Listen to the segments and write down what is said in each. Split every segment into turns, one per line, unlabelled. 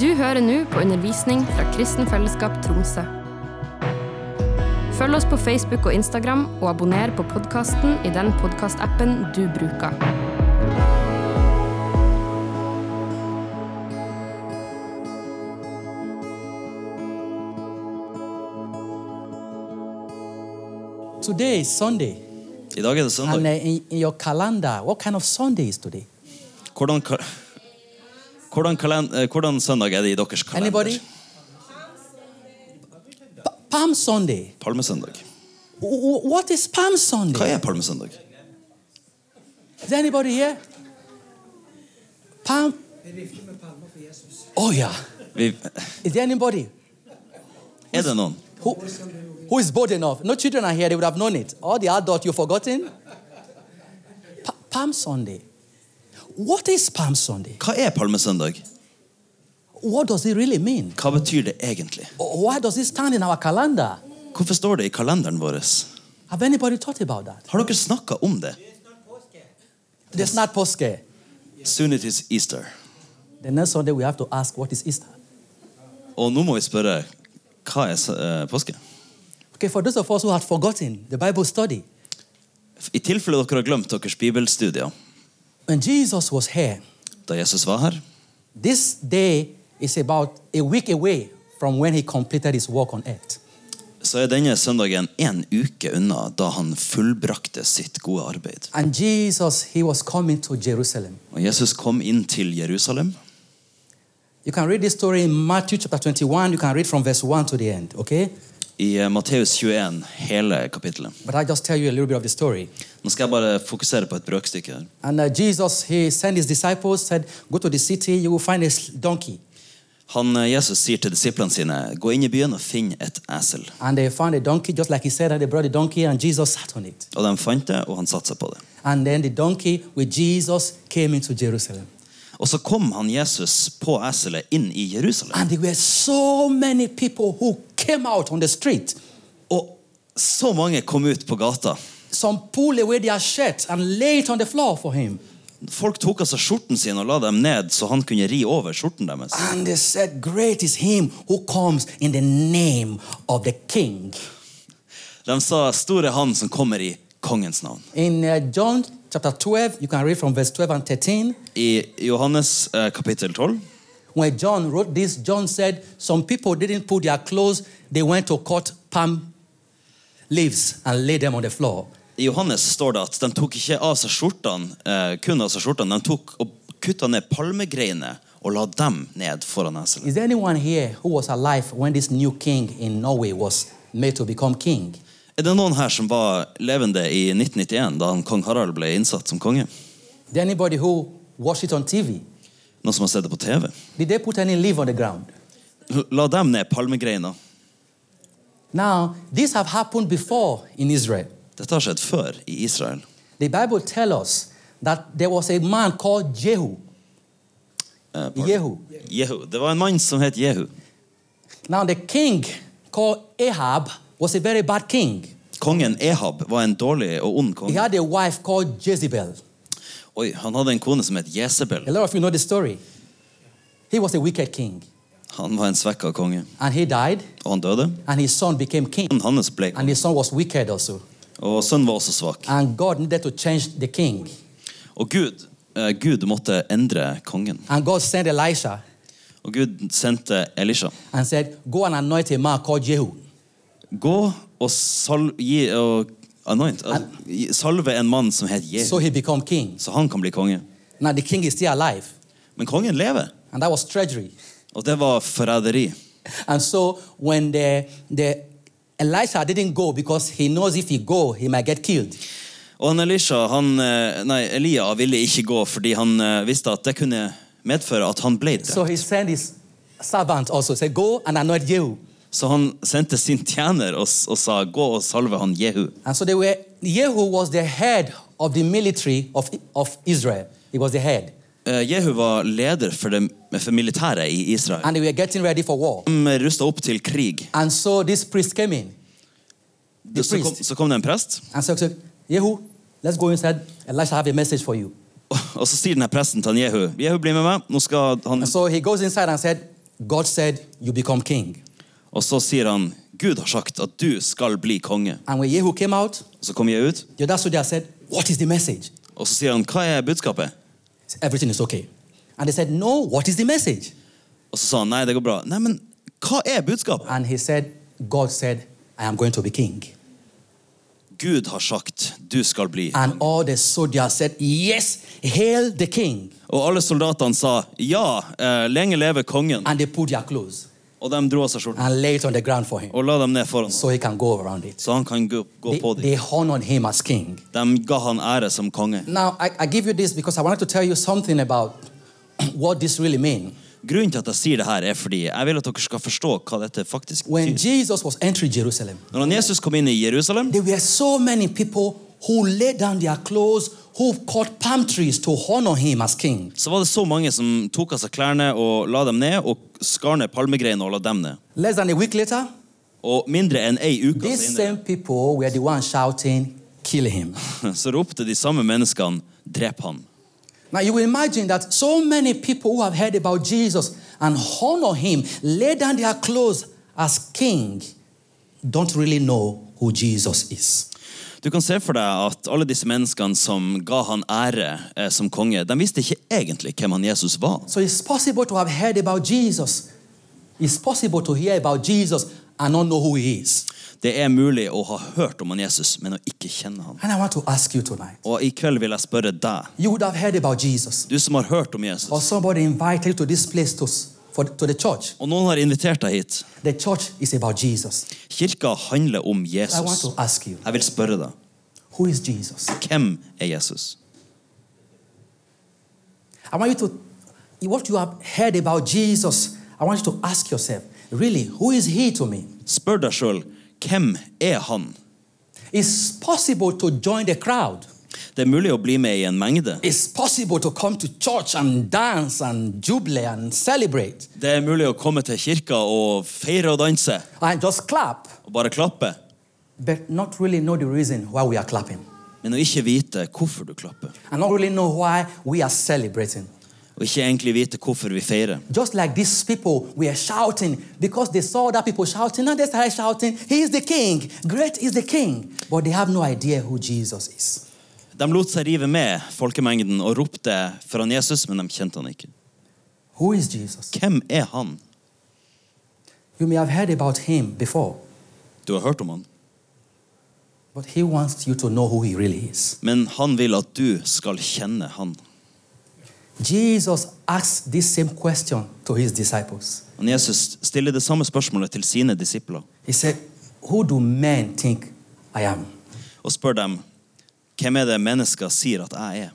Du hører nå på undervisning fra Kristen Fellesskap Tromsø. Følg oss på Facebook og Instagram, og abonner på podkasten i den podkastappen du bruker.
Today is Sunday,
I dag er det
and uh,
søndag.
in, in your calendar, what kind of Sunday is today?
Hvordan, ka- hvordan, kalen, eh, hvordan søndag er det i deres kalender?
Anybody? Pa- Palm Sunday.
Palmesøndag.
W- w- What is Palm
Hva
Sunday?
er palmesøndag?
Is there anybody here? Palm. Oh yeah.
Vi,
Is there anybody
er det noen?
who, who is bold enough? No children are here; they would have known it. All the adults you've forgotten. Pa- Palm Sunday. What is Palm Sunday?
Hva er palmesøndag?
What does it really mean?
Hva betyr det egentlig?
Why does it stand in our calendar?
Hvorfor står det i kalenderen vår?
Have anybody thought about that?
Har dere snakka om det?
There's not Poske.
Soon it is Easter.
The next Sunday we have to ask what is Easter.
Og nå må vi spørre hva er sø- eh, påske?
Okay, for those of us who had forgotten the Bible study,
I tilfelle dere har glemt deres bibelstudier
when Jesus was here,
da Jesus var her
this day is about a week away from when he completed his work on earth.
så er denne søndagen en uke unna da han fullbrakte sitt gode arbeid.
And Jesus, he was coming to Jerusalem.
Og Jesus kom inn til Jerusalem.
You can read this story in Matthew chapter 21. You can read from verse 1 to the end, okay?
I eh, Matteus 21, hele kapittelet.
But I just tell you a little bit of the story.
Nå skal jeg bare fokusere på et brøkstykke. her.
And uh, Jesus, he sent his disciples, said, Go to the city, you will find a s- donkey.
Han, eh, Jesus sier til disiplene sine, gå inn i byen og finn et esel.
And they found a donkey, just like he said, and they brought the donkey, and Jesus sat on it.
Og de fant det, og han satte seg på det.
And then the donkey with Jesus came into Jerusalem.
Og så kom han Jesus på eselet inn i Jerusalem.
And there were so many people who came out on the street.
Og så mange kom ut på gata.
Some pulled away their shirt and laid it on the floor for him.
Folk tok av seg skjorten sin og la dem ned, så han kunne ri over skjorten deres.
And they said, Great is him who comes in the name of the king.
De sa, store han som kommer i kongens navn.
In uh, John chapter 12, you can read from verse 12 and 13.
I Johannes eh, kapittel 12
When John wrote this, John said, Some people didn't put their clothes, they went to cut palm leaves and lay them on the floor.
I Johannes står det at de tok ikke av seg skjortene, eh, kun av seg skjortene. De tok og kutta ned palmegreiner og la dem ned foran eselet.
Is there anyone here who was alive when this new king in Norway was made to become king?
Er det noen her som var levende i 1991, da han kong Harald ble innsatt som konge?
Is there anybody who watched it on TV?
Noen som har sett det på TV?
Did they put any leaf on the ground?
La dem ned palmegreiner.
Now, this have happened before in Israel.
Dette har skjedd før i Israel.
The Bible tells us that there was a man called Jehu.
Eh, pardon.
Jehu.
Jehu. Det var en mann som het Jehu.
Now, the king called Ahab was a very bad king.
Kongen Ehab var en dårlig og ond
He
konge.
had a wife called Jezebel.
Oi, han hadde en kone som het Jesebel.
A lot of you know the story. He was a wicked king,
Han var en svekka konge,
and he died,
og han døde.
and his son became king,
Sønnen hans ble
and
konge,
his son was wicked also.
og sønnen var også svak.
And God needed to change the king.
Og Gud, eh, Gud måtte endre kongen.
And God sent Elisha
Og Gud sendte Elisha.
and said, Go and anoint a man called Jehu.
Gå og, sal gi, og anoint, altså, gi- salve en mann som het Jehu,
So he became king.
så han kan bli konge.
Now the king is still alive.
Men kongen lever,
And that was treachery.
og det var forræderi.
And so when the, the Elisha didn't go because he knows if he go, he might get killed.
Og han Elisha, han, eh, nei, Elia ville ikke gå fordi han eh, visste at det kunne medføre at han ble
So
drept.
he sent his servant also, said, Go and anoint Jehu.
Så han sendte sin tjener og, s- og sa gå og salve han Jehu.
And so they were, Jehu was the head of the military of, of Israel. He was the head.
Eh, Jehu var leder for, det, for militæret i Israel.
And they were getting ready for war.
De rusta opp til krig.
And so this priest came in The
Så kom,
priest.
så kom det en prest,
and said, said, Jehu, let's go inside. Elisha have a message for you.
og så sier denne presten til han Jehu Jehu, bli med meg. Nå skal han...
And so he goes inside and said, God said, You become king.
Og så sier han, Gud har sagt at du skal bli konge.
And when Yehu came out,
Og så kom jeg ut,
the other soldier said, What is the message? He
og så sier han, hva er budskapet?
said, Everything is okay. And they said, No, what is the message?
Og så sa han, nei, det går bra. Nei, men hva er budskapet?
And he said, God said, I am going to be king.
Gud har sagt, du skal bli.
And all the soldiers said, Yes, hail the king.
Og alle soldatene sa, ja, eh, lenge leve kongen.
And they pulled their clothes
Og de dro av seg skjorten
and laid it on the ground for him
og la dem ned foran ham,
so he can go around it.
så han kan gå, gå
They,
på dem.
they honored him as king.
De ga han ære som konge.
Now, I, I give you this because I wanted to tell you something about what this really means.
Grunnen til at jeg sier det her, er fordi jeg vil at dere skal forstå hva dette faktisk
When
betyr.
Jesus was entering Jerusalem,
Når han Jesus kom inn i Jerusalem,
there were so many people who laid down their clothes, who cut palm trees to honor him as king.
så var det så mange som tok av seg klærne og la dem ned, og skar ned palmegreiner og la dem ned.
Less than a week later,
Og mindre enn ei uke
these
senere,
same people were the ones shouting, Kill him.
så ropte de samme menneskene 'drep han'.
Now you will imagine that so many people who have heard about Jesus and honor him, lay down their clothes as king, don't really know who Jesus is.
Du kan se for deg at alle disse menneskene som ga han ære eh, som konge, de visste ikke egentlig hvem han Jesus var.
So it's possible to have heard about Jesus. It's possible to hear about Jesus and not know who he is.
Det er mulig å ha hørt om han Jesus, men å ikke kjenne han.
And I want to ask you tonight.
Og i kveld vil jeg spørre deg,
You would have heard about Jesus,
du som har hørt om
or
Jesus,
somebody invited you to this place to, for, to the church.
og noen har invitert deg hit.
The church is about Jesus.
Kirka handler om
I want
Jesus.
to ask you,
Jeg vil spørre deg,
who is Jesus?
hvem er Jesus?
I want you to, what you have heard about Jesus, I want you to ask yourself, really, who is he to me?
Spør deg sjøl, hvem er han?
It's possible to join the crowd.
Det er mulig å bli med i en mengde.
It's possible to come to church and dance and jubilee and celebrate
Det er mulig å komme til kirka og feire og danse,
and just clap,
og bare klappe,
but not really know the reason why we are clapping
men å ikke vite hvorfor du klapper.
and not really know why we are celebrating.
og ikke egentlig vite hvorfor vi feirer.
Just like these people were shouting because they saw other people shouting and they started shouting, He is the king, great is the king. But they have no idea who Jesus is.
De lot seg rive med folkemengden og ropte for han Jesus, men de kjente han ikke.
Who is Jesus?
Hvem er han?
You may have heard about him before,
Du har hørt om han,
but he wants you to know who he really is.
men han vil at du skal kjenne han.
Jesus asked this same question to his disciples.
Han Jesus stiller det samme spørsmålet til sine disipler
He said, Who do men think I am?
og spør dem hvem er det mennesker sier at jeg er.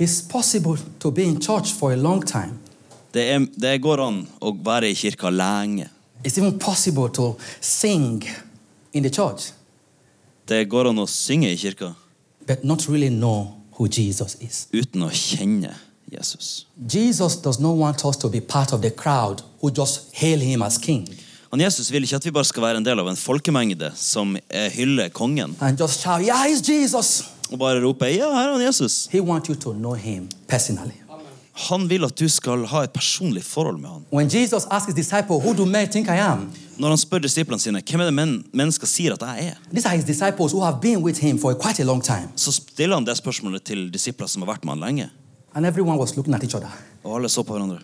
It's possible to be in church for a long time.
Det, er, det går an å være i kirka lenge.
It's even possible to sing in the church,
Det går an å synge i kirka
but not really know who Jesus is.
uten å kjenne Jesus.
Jesus does not want us to be part of the crowd who just hail him as king
Han Jesus vil ikke at vi bare skal være en del av en folkemengde som eh, hyller kongen.
and just shout, Yeah, it's Jesus.
og bare rope ja, her er han Jesus.
He wants you to know him personally.
Han vil at du skal ha et personlig forhold med han.
When Jesus asked his disciple, Who do men think I am?
Når han spør disiplene sine hvem er det men mennesker sier at jeg er,
These are his disciples who have been with him for quite a long time.
så stiller han det spørsmålet til disipler som har vært med han lenge.
And everyone was looking at each other.
Og alle så på hverandre.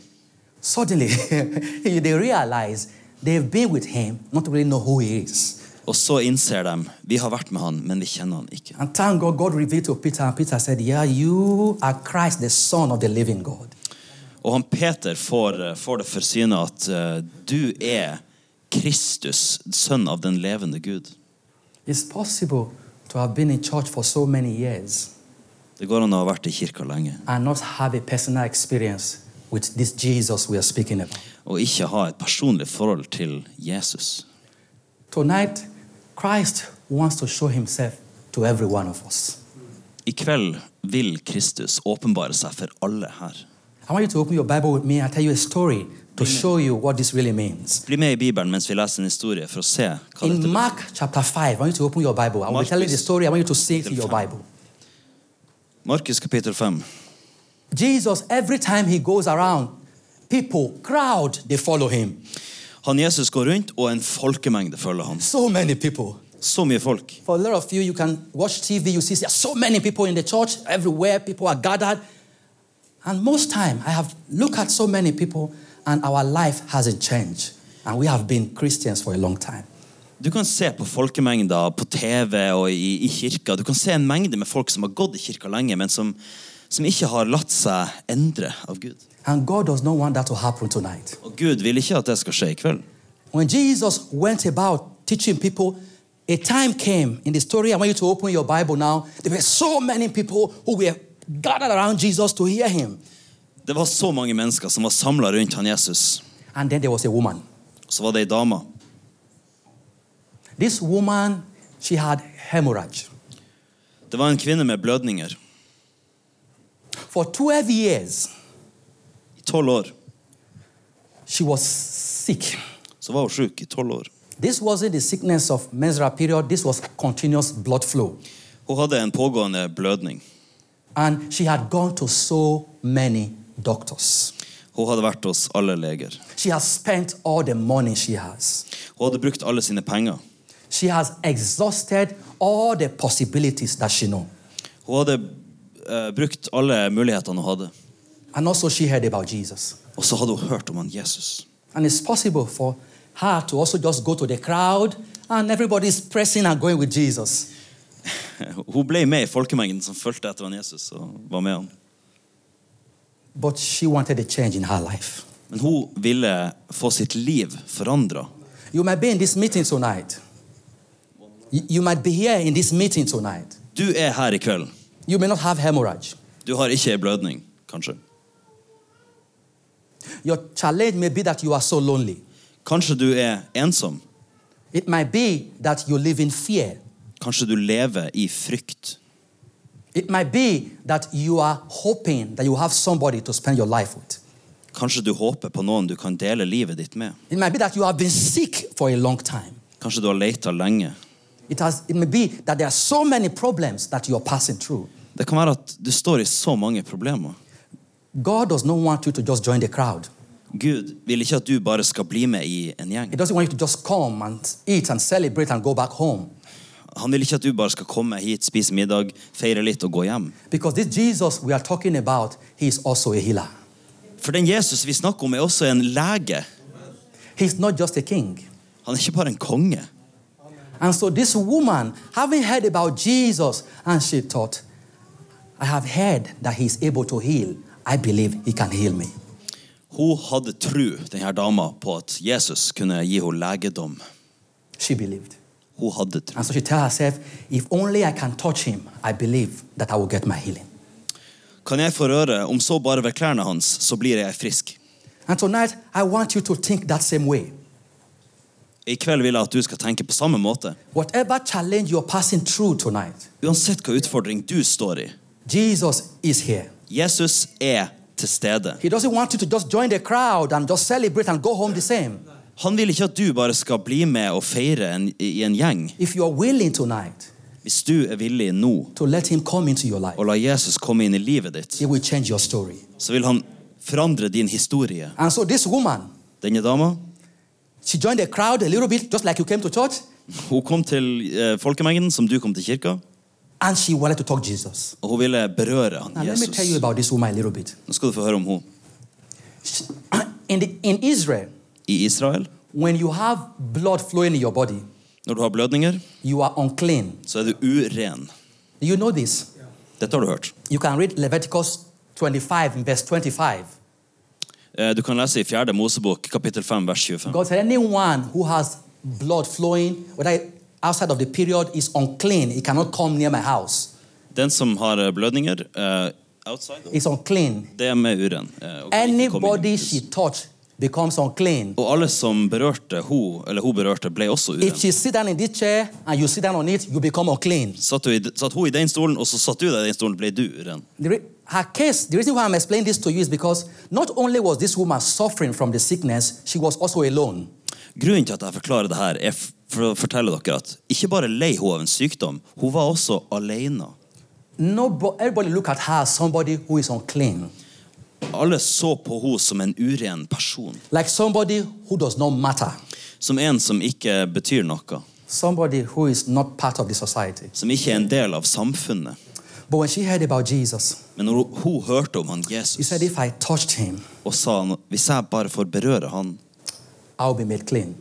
Suddenly, they realize they've been with him, not really know who he is.
Og så innser de vi har vært med han, men vi kjenner han ikke.
And thank God, God revealed to Peter, and Peter said, Yeah, you are Christ, the Son of the living God.
Og han Peter får, eh, får det for syne at eh, du er Kristus, sønn av den levende Gud.
It's possible to have been in church for so many years.
Det går an å ha vært i kirka lenge
and not have a personal experience with this Jesus we are speaking about.
og ikke ha et personlig forhold til Jesus.
Tonight, Christ wants to show himself to every one of us.
I kveld vil Kristus åpenbare seg for alle her.
I want you to open your Bible with me and tell you a story to show you what this really means.
Bli med i Bibelen mens vi leser en historie for å se hva dette
In Mark chapter 5, I want you to open your Bible. I will
Mark
tell you the
is-
story. I want you to see it in
Chapter
your
five.
Bible.
Markus kapittel 5.
Jesus, every time he goes around, people, crowd, they follow him.
Han Jesus går rundt, og en folkemengde følger han.
So many people.
Så mye folk.
For a lot of you, you can watch TV, you see there are so many people in the church, everywhere people are gathered. And most time, I have looked at so many people, and our life hasn't changed. And we have been Christians for a long time.
Du kan se på folkemengder på TV og i, i kirka. Du kan se en mengde med folk som har gått i kirka lenge, men som, som ikke har latt seg endre av Gud.
And God does not want that to happen tonight.
Og Gud vil ikke at det skal skje i kveld.
When Jesus went about teaching people, a time came in the story. I want you to open your Bible now. There were so many people who were gathered around Jesus to hear him.
Det var så mange mennesker som var samla rundt han Jesus.
And then there was a woman.
Og så var det ei dame.
This woman, she had hemorrhage.
Det var en kvinne med blødninger.
For 12 years,
I tolv år.
she was sick.
Så var hun sjuk i tolv år.
This wasn't the sickness of menstrual period, this was continuous blood flow.
Hun hadde en pågående blødning.
And she had gone to so many doctors.
Hun hadde vært hos alle leger.
She has spent all the money she has.
Hun hadde brukt alle sine penger.
She has exhausted all the possibilities that she know.
Hun hadde eh, brukt alle mulighetene hun hadde.
And also she heard about Jesus.
Og så hadde hun hørt om han Jesus.
And it's possible for her to also just go to the crowd and everybody's pressing and going with Jesus.
Hun ble med i folkemengden som fulgte etter han Jesus. og var med han.
But she wanted a change in her life.
Men hun ville få sitt liv forandra.
You might be in this meeting tonight. You you might be here in this meeting tonight.
Du er her i kveld.
You may not have hemorrhage.
Du har ikke ei blødning, kanskje.
Your challenge may be that you are so lonely.
Kanskje du er ensom.
It might be that you live in fear.
Kanskje du lever i frykt.
It might be that you are hoping that you have somebody to spend your life with.
Kanskje du håper på noen du kan dele livet ditt med.
It might be that you have been sick for a long time.
Kanskje du har leita lenge.
It, has, it may be that there are so many problems that you are passing through.
Det kan være at du står i så mange problemer.
God does not want you to just join the crowd.
Gud vil ikke at du bare skal bli med i en gjeng.
He doesn't want you to just come and eat and celebrate and go back home.
Han vil ikke at du bare skal komme hit, spise middag, feire litt og gå hjem.
Because this Jesus we are talking about, he is also a healer.
For den Jesus vi snakker om, er også en lege.
He's not just a king.
Han er ikke bare en konge.
And so this woman, having heard about Jesus, and she thought, I have heard that he is able to heal. I believe he can heal me.
Hun hadde tru, denne dama, på at Jesus kunne gi henne legedom.
She believed.
Hun hadde tru.
And so she tell herself, if only I can touch him, I believe that I will get my healing.
Kan jeg få røre, om så bare ved klærne hans, så blir jeg frisk.
And tonight, I want you to think that same way.
I kveld vil jeg at du skal tenke på samme måte.
Whatever challenge you're passing through tonight,
Uansett hva utfordring du står i.
Jesus is here.
Jesus er til stede.
He doesn't want you to just join the crowd and just celebrate and go home the same.
Han vil ikke at du bare skal bli med og feire en, i en gjeng.
If you're willing tonight
Hvis du er villig nå
to let him come into your life,
og la Jesus komme inn i livet ditt,
he will change your story.
så vil han forandre din historie.
And so this woman,
Denne dama
she joined the crowd a little bit, just like you came to church,
hun kom til eh, folkemengden som du kom til kirka,
and she wanted to talk Jesus.
og hun ville berøre han,
Now let me tell you
Jesus.
about this woman a little bit.
Nå skal du få høre om hun.
She- in, the, in Israel,
I Israel,
when you have blood flowing in your body,
når du har blødninger,
you are unclean.
så er du uren.
You know this.
Dette har du hørt.
You can read Leviticus 25, in verse 25.
Eh, Du kan lese i 4. Mosebok, kapittel 5, vers 25.
God said, anyone who has blood flowing, whether outside of the period, is unclean. He cannot come near my house.
Den som har eh, blødninger eh, outside,
It's unclean.
det er med uren. eh, og kan ikke komme inn i
Anybody
hus.
she touched becomes unclean.
Og alle som berørte hun, eller hun berørte, ble også
If
uren.
she sit down in this chair and you sit down on it, you become unclean.
Satt, du i, satt hun i den stolen, og så satt du der i den stolen, ble du uren.
The re- her case, the reason why I'm explaining this to you is because not only was this woman suffering from the sickness, she was also alone.
Grunnen til at jeg forklarer det her, er f- for å fortelle dere at ikke bare lei hun av en sykdom, hun var også alene.
No, everybody look at her as somebody who is unclean.
Alle så på henne som en uren person.
like somebody who does not matter,
Som en som ikke betyr noe.
somebody who is not part of the society.
Som ikke er en del av samfunnet.
But when she heard about Jesus,
Men når hun- hun hørte om han
she
Jesus
said, If I touched him,
og sa han, hvis jeg bare får berøre han,
I'll be made clean.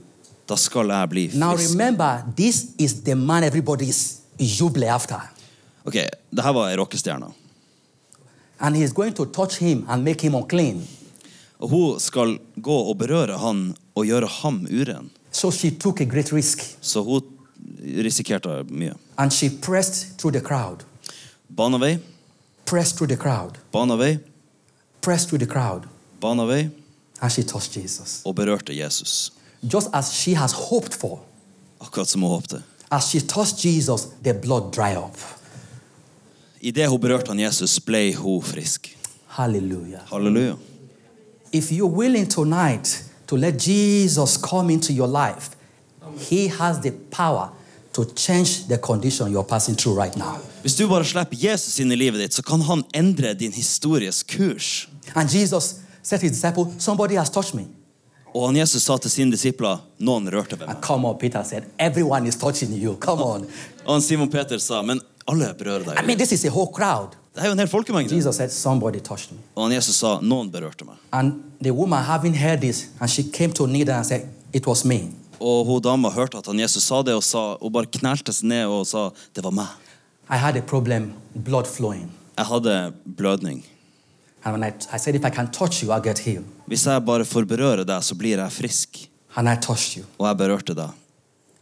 da skal jeg bli
Now
frisk.
remember, this is the man everybody is jubilee after.
Ok, det her var ei rockestjerne.
And he's going to touch him and make him unclean.
Og hun skal gå og berøre han og gjøre ham uren.
So she took a great risk
Så hun risikerte mye.
and she pressed through the crowd,
Bana vei,
pressed through the crowd,
bana vei,
pressed through the crowd,
bana vei,
and she touched Jesus.
og berørte Jesus.
Just as she has hoped for,
Akkurat som hun håpte.
as she touched Jesus, the blood dried up.
Idet hun berørte han Jesus, ble hun frisk.
Hallelujah.
Halleluja.
If you're willing tonight to let Jesus come into your life, He has the power to change the condition you're passing through right now.
Hvis du bare slipper Jesus inn i livet ditt, så kan han endre din histories kurs.
And Jesus said to his disciple, Somebody has touched me.
Og han Jesus sa til sine disipler noen rørte ved meg.
And come on, Peter said, Everyone is touching you. Come on.
Og han Simon Peter sa men alle berører deg.
I mean, this is a whole crowd.
Det er jo en hel folkemengde.
Jesus said, Somebody touched me.
Og han Jesus sa noen berørte meg.
And the woman, having heard this, and she came to kneel down and said, It was me.
Og hun dama hørte at han Jesus sa det, og, sa, og bare knelte seg ned og sa det var meg.
I had a problem, blood flowing.
Jeg hadde blødning.
And when I, I said, If I can touch you, I'll get healed.
Hvis jeg bare får berøre deg, så blir jeg frisk.
And I touched you,
Og jeg berørte deg,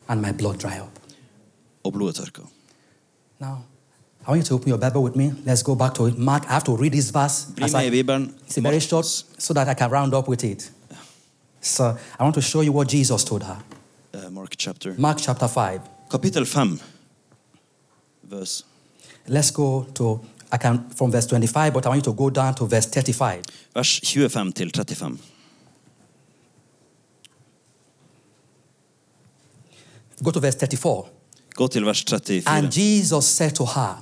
and my blood dried up.
og blodet tørka.
Now, I want you to open your Bible with me. Let's go back to it. Mark, I have to read this verse.
Bli
as I-
med i Bibelen.
Altså, It's very short,
Markus,
so that I can round up with it. So, I want to show you what Jesus told her.
eh, Mark chapter.
Mark chapter 5.
Kapittel 5, vers,
Let's go to, I can, from verse 25, but I want you to go down to verse 35.
vers 25 til 35.
Go to verse 34.
Gå til vers
And
34.
Jesus said to her,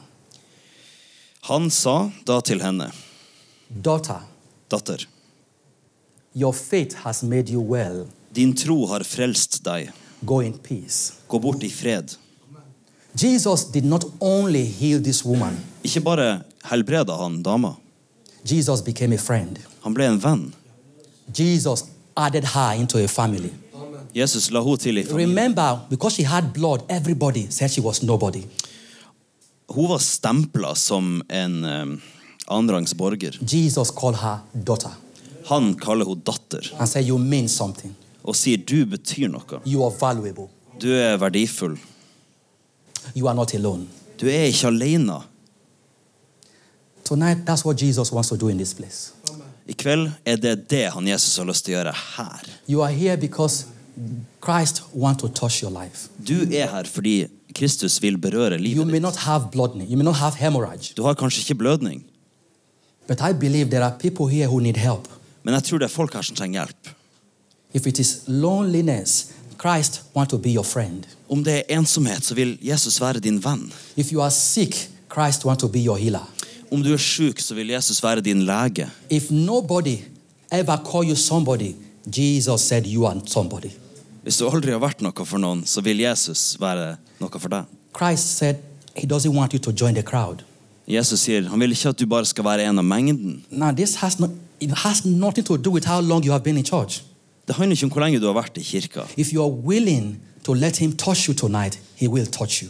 Han sa da til henne,
Daughter,
datter,
your faith has made you well.
din tro har frelst deg.
Go in peace.
Gå bort i fred.
Jesus did not only heal this woman,
Ikke bare helbreda han dama,
Jesus became a friend.
han ble en venn.
Jesus added her into a family.
Jesus la henne til i familien.
Remember, because she had blood, everybody said she was nobody.
Hun var stempla som en um, annenrangs borger.
Jesus called her daughter
Han kaller henne datter
and said, You mean something.
og sier du betyr noe.
You are valuable.
Du er verdifull.
You are not alone.
Du er ikke alene.
Tonight, that's what Jesus wants to do in this place.
I kveld er det det han Jesus har lyst til å gjøre her.
You are here because Christ wants to touch your life.
Du er her fordi Kristus vil berøre
You
livet
may
ditt.
not have blood, you may not have hemorrhage,
Du har kanskje ikke blødning,
but I believe there are people here who need help.
men jeg tror det er folk her som trenger hjelp.
If it is loneliness, Christ wants to be your friend.
Om det er ensomhet, så vil Jesus være din venn.
If you are sick, Christ wants to be your healer.
Om du er sjuk, så vil Jesus være din lege.
If nobody ever call you somebody, Jesus said you are somebody.
Hvis du aldri har vært noe for noen, så vil Jesus være noe for deg.
Christ said he doesn't want you to join the crowd.
Jesus sier han vil ikke at du bare skal være en av mengden.
Now this has not it has nothing to do with how long you have been in church.
Det handler ikke om hvor lenge du har vært i kirka.
If you are willing to let him touch you tonight, he will touch you.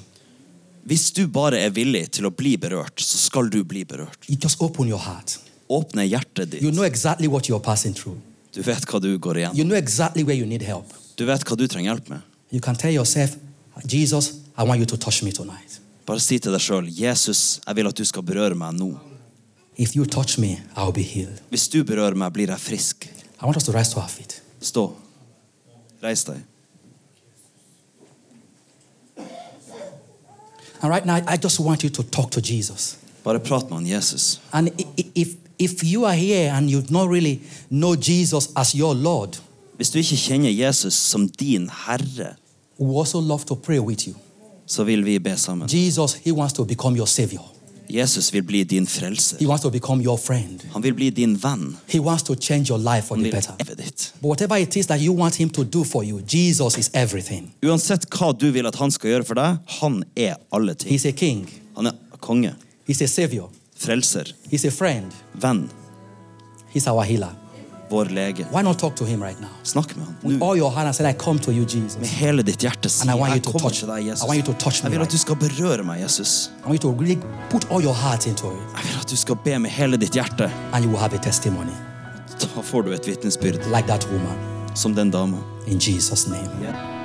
Hvis du bare er villig til å bli berørt, så skal du bli berørt.
You just open your heart.
Åpne hjertet
You know
ditt.
exactly what you are passing through.
Du vet hva du går igjen.
You know exactly where you need help.
Du vet hva du trenger hjelp med.
You can tell yourself, Jesus, I want you to touch me tonight.
Bare si til deg sjøl, 'Jesus, jeg vil at du skal berøre meg nå'.
If you touch me, I'll be healed.
Hvis du berører meg, blir jeg frisk.
I want us to rise to our feet.
Stå. Reis deg.
And right now, I just want you to talk to Jesus.
Bare prat med han Jesus.
And i- i- if, if you are here and you've not really know Jesus as your Lord,
Hvis du ikke kjenner Jesus som din herre,
we also love to pray with you.
så vil vi be sammen.
Jesus, He wants to become your Savior.
Jesus vil bli din frelser.
He wants to become your friend.
Han vil bli din venn.
He wants to change your life for
Han
the
vil
better.
leve ditt.
But whatever it is that you want him to do for you, Jesus is everything.
Uansett hva du vil at han skal gjøre for deg, han er alle ting.
He's a king.
Han er konge,
He's a savior.
frelser,
He's a friend.
venn,
He's our healer.
vår lege.
Why not talk to him right now?
Snakk med
With
han nå.
all your heart and say, I come to you, Jesus.
Med hele ditt hjerte si
And I want you
jeg
to
kommer
touch-
til deg, Jesus.
I want you to touch me
Jeg vil at
right
du skal berøre meg, Jesus.
I want you to really put all your heart into it,
Jeg vil at du skal be med hele ditt hjerte.
and you will have a testimony
Da får du et vitnesbyrd
like that woman
som den dama.
in Jesus' name.
Ja.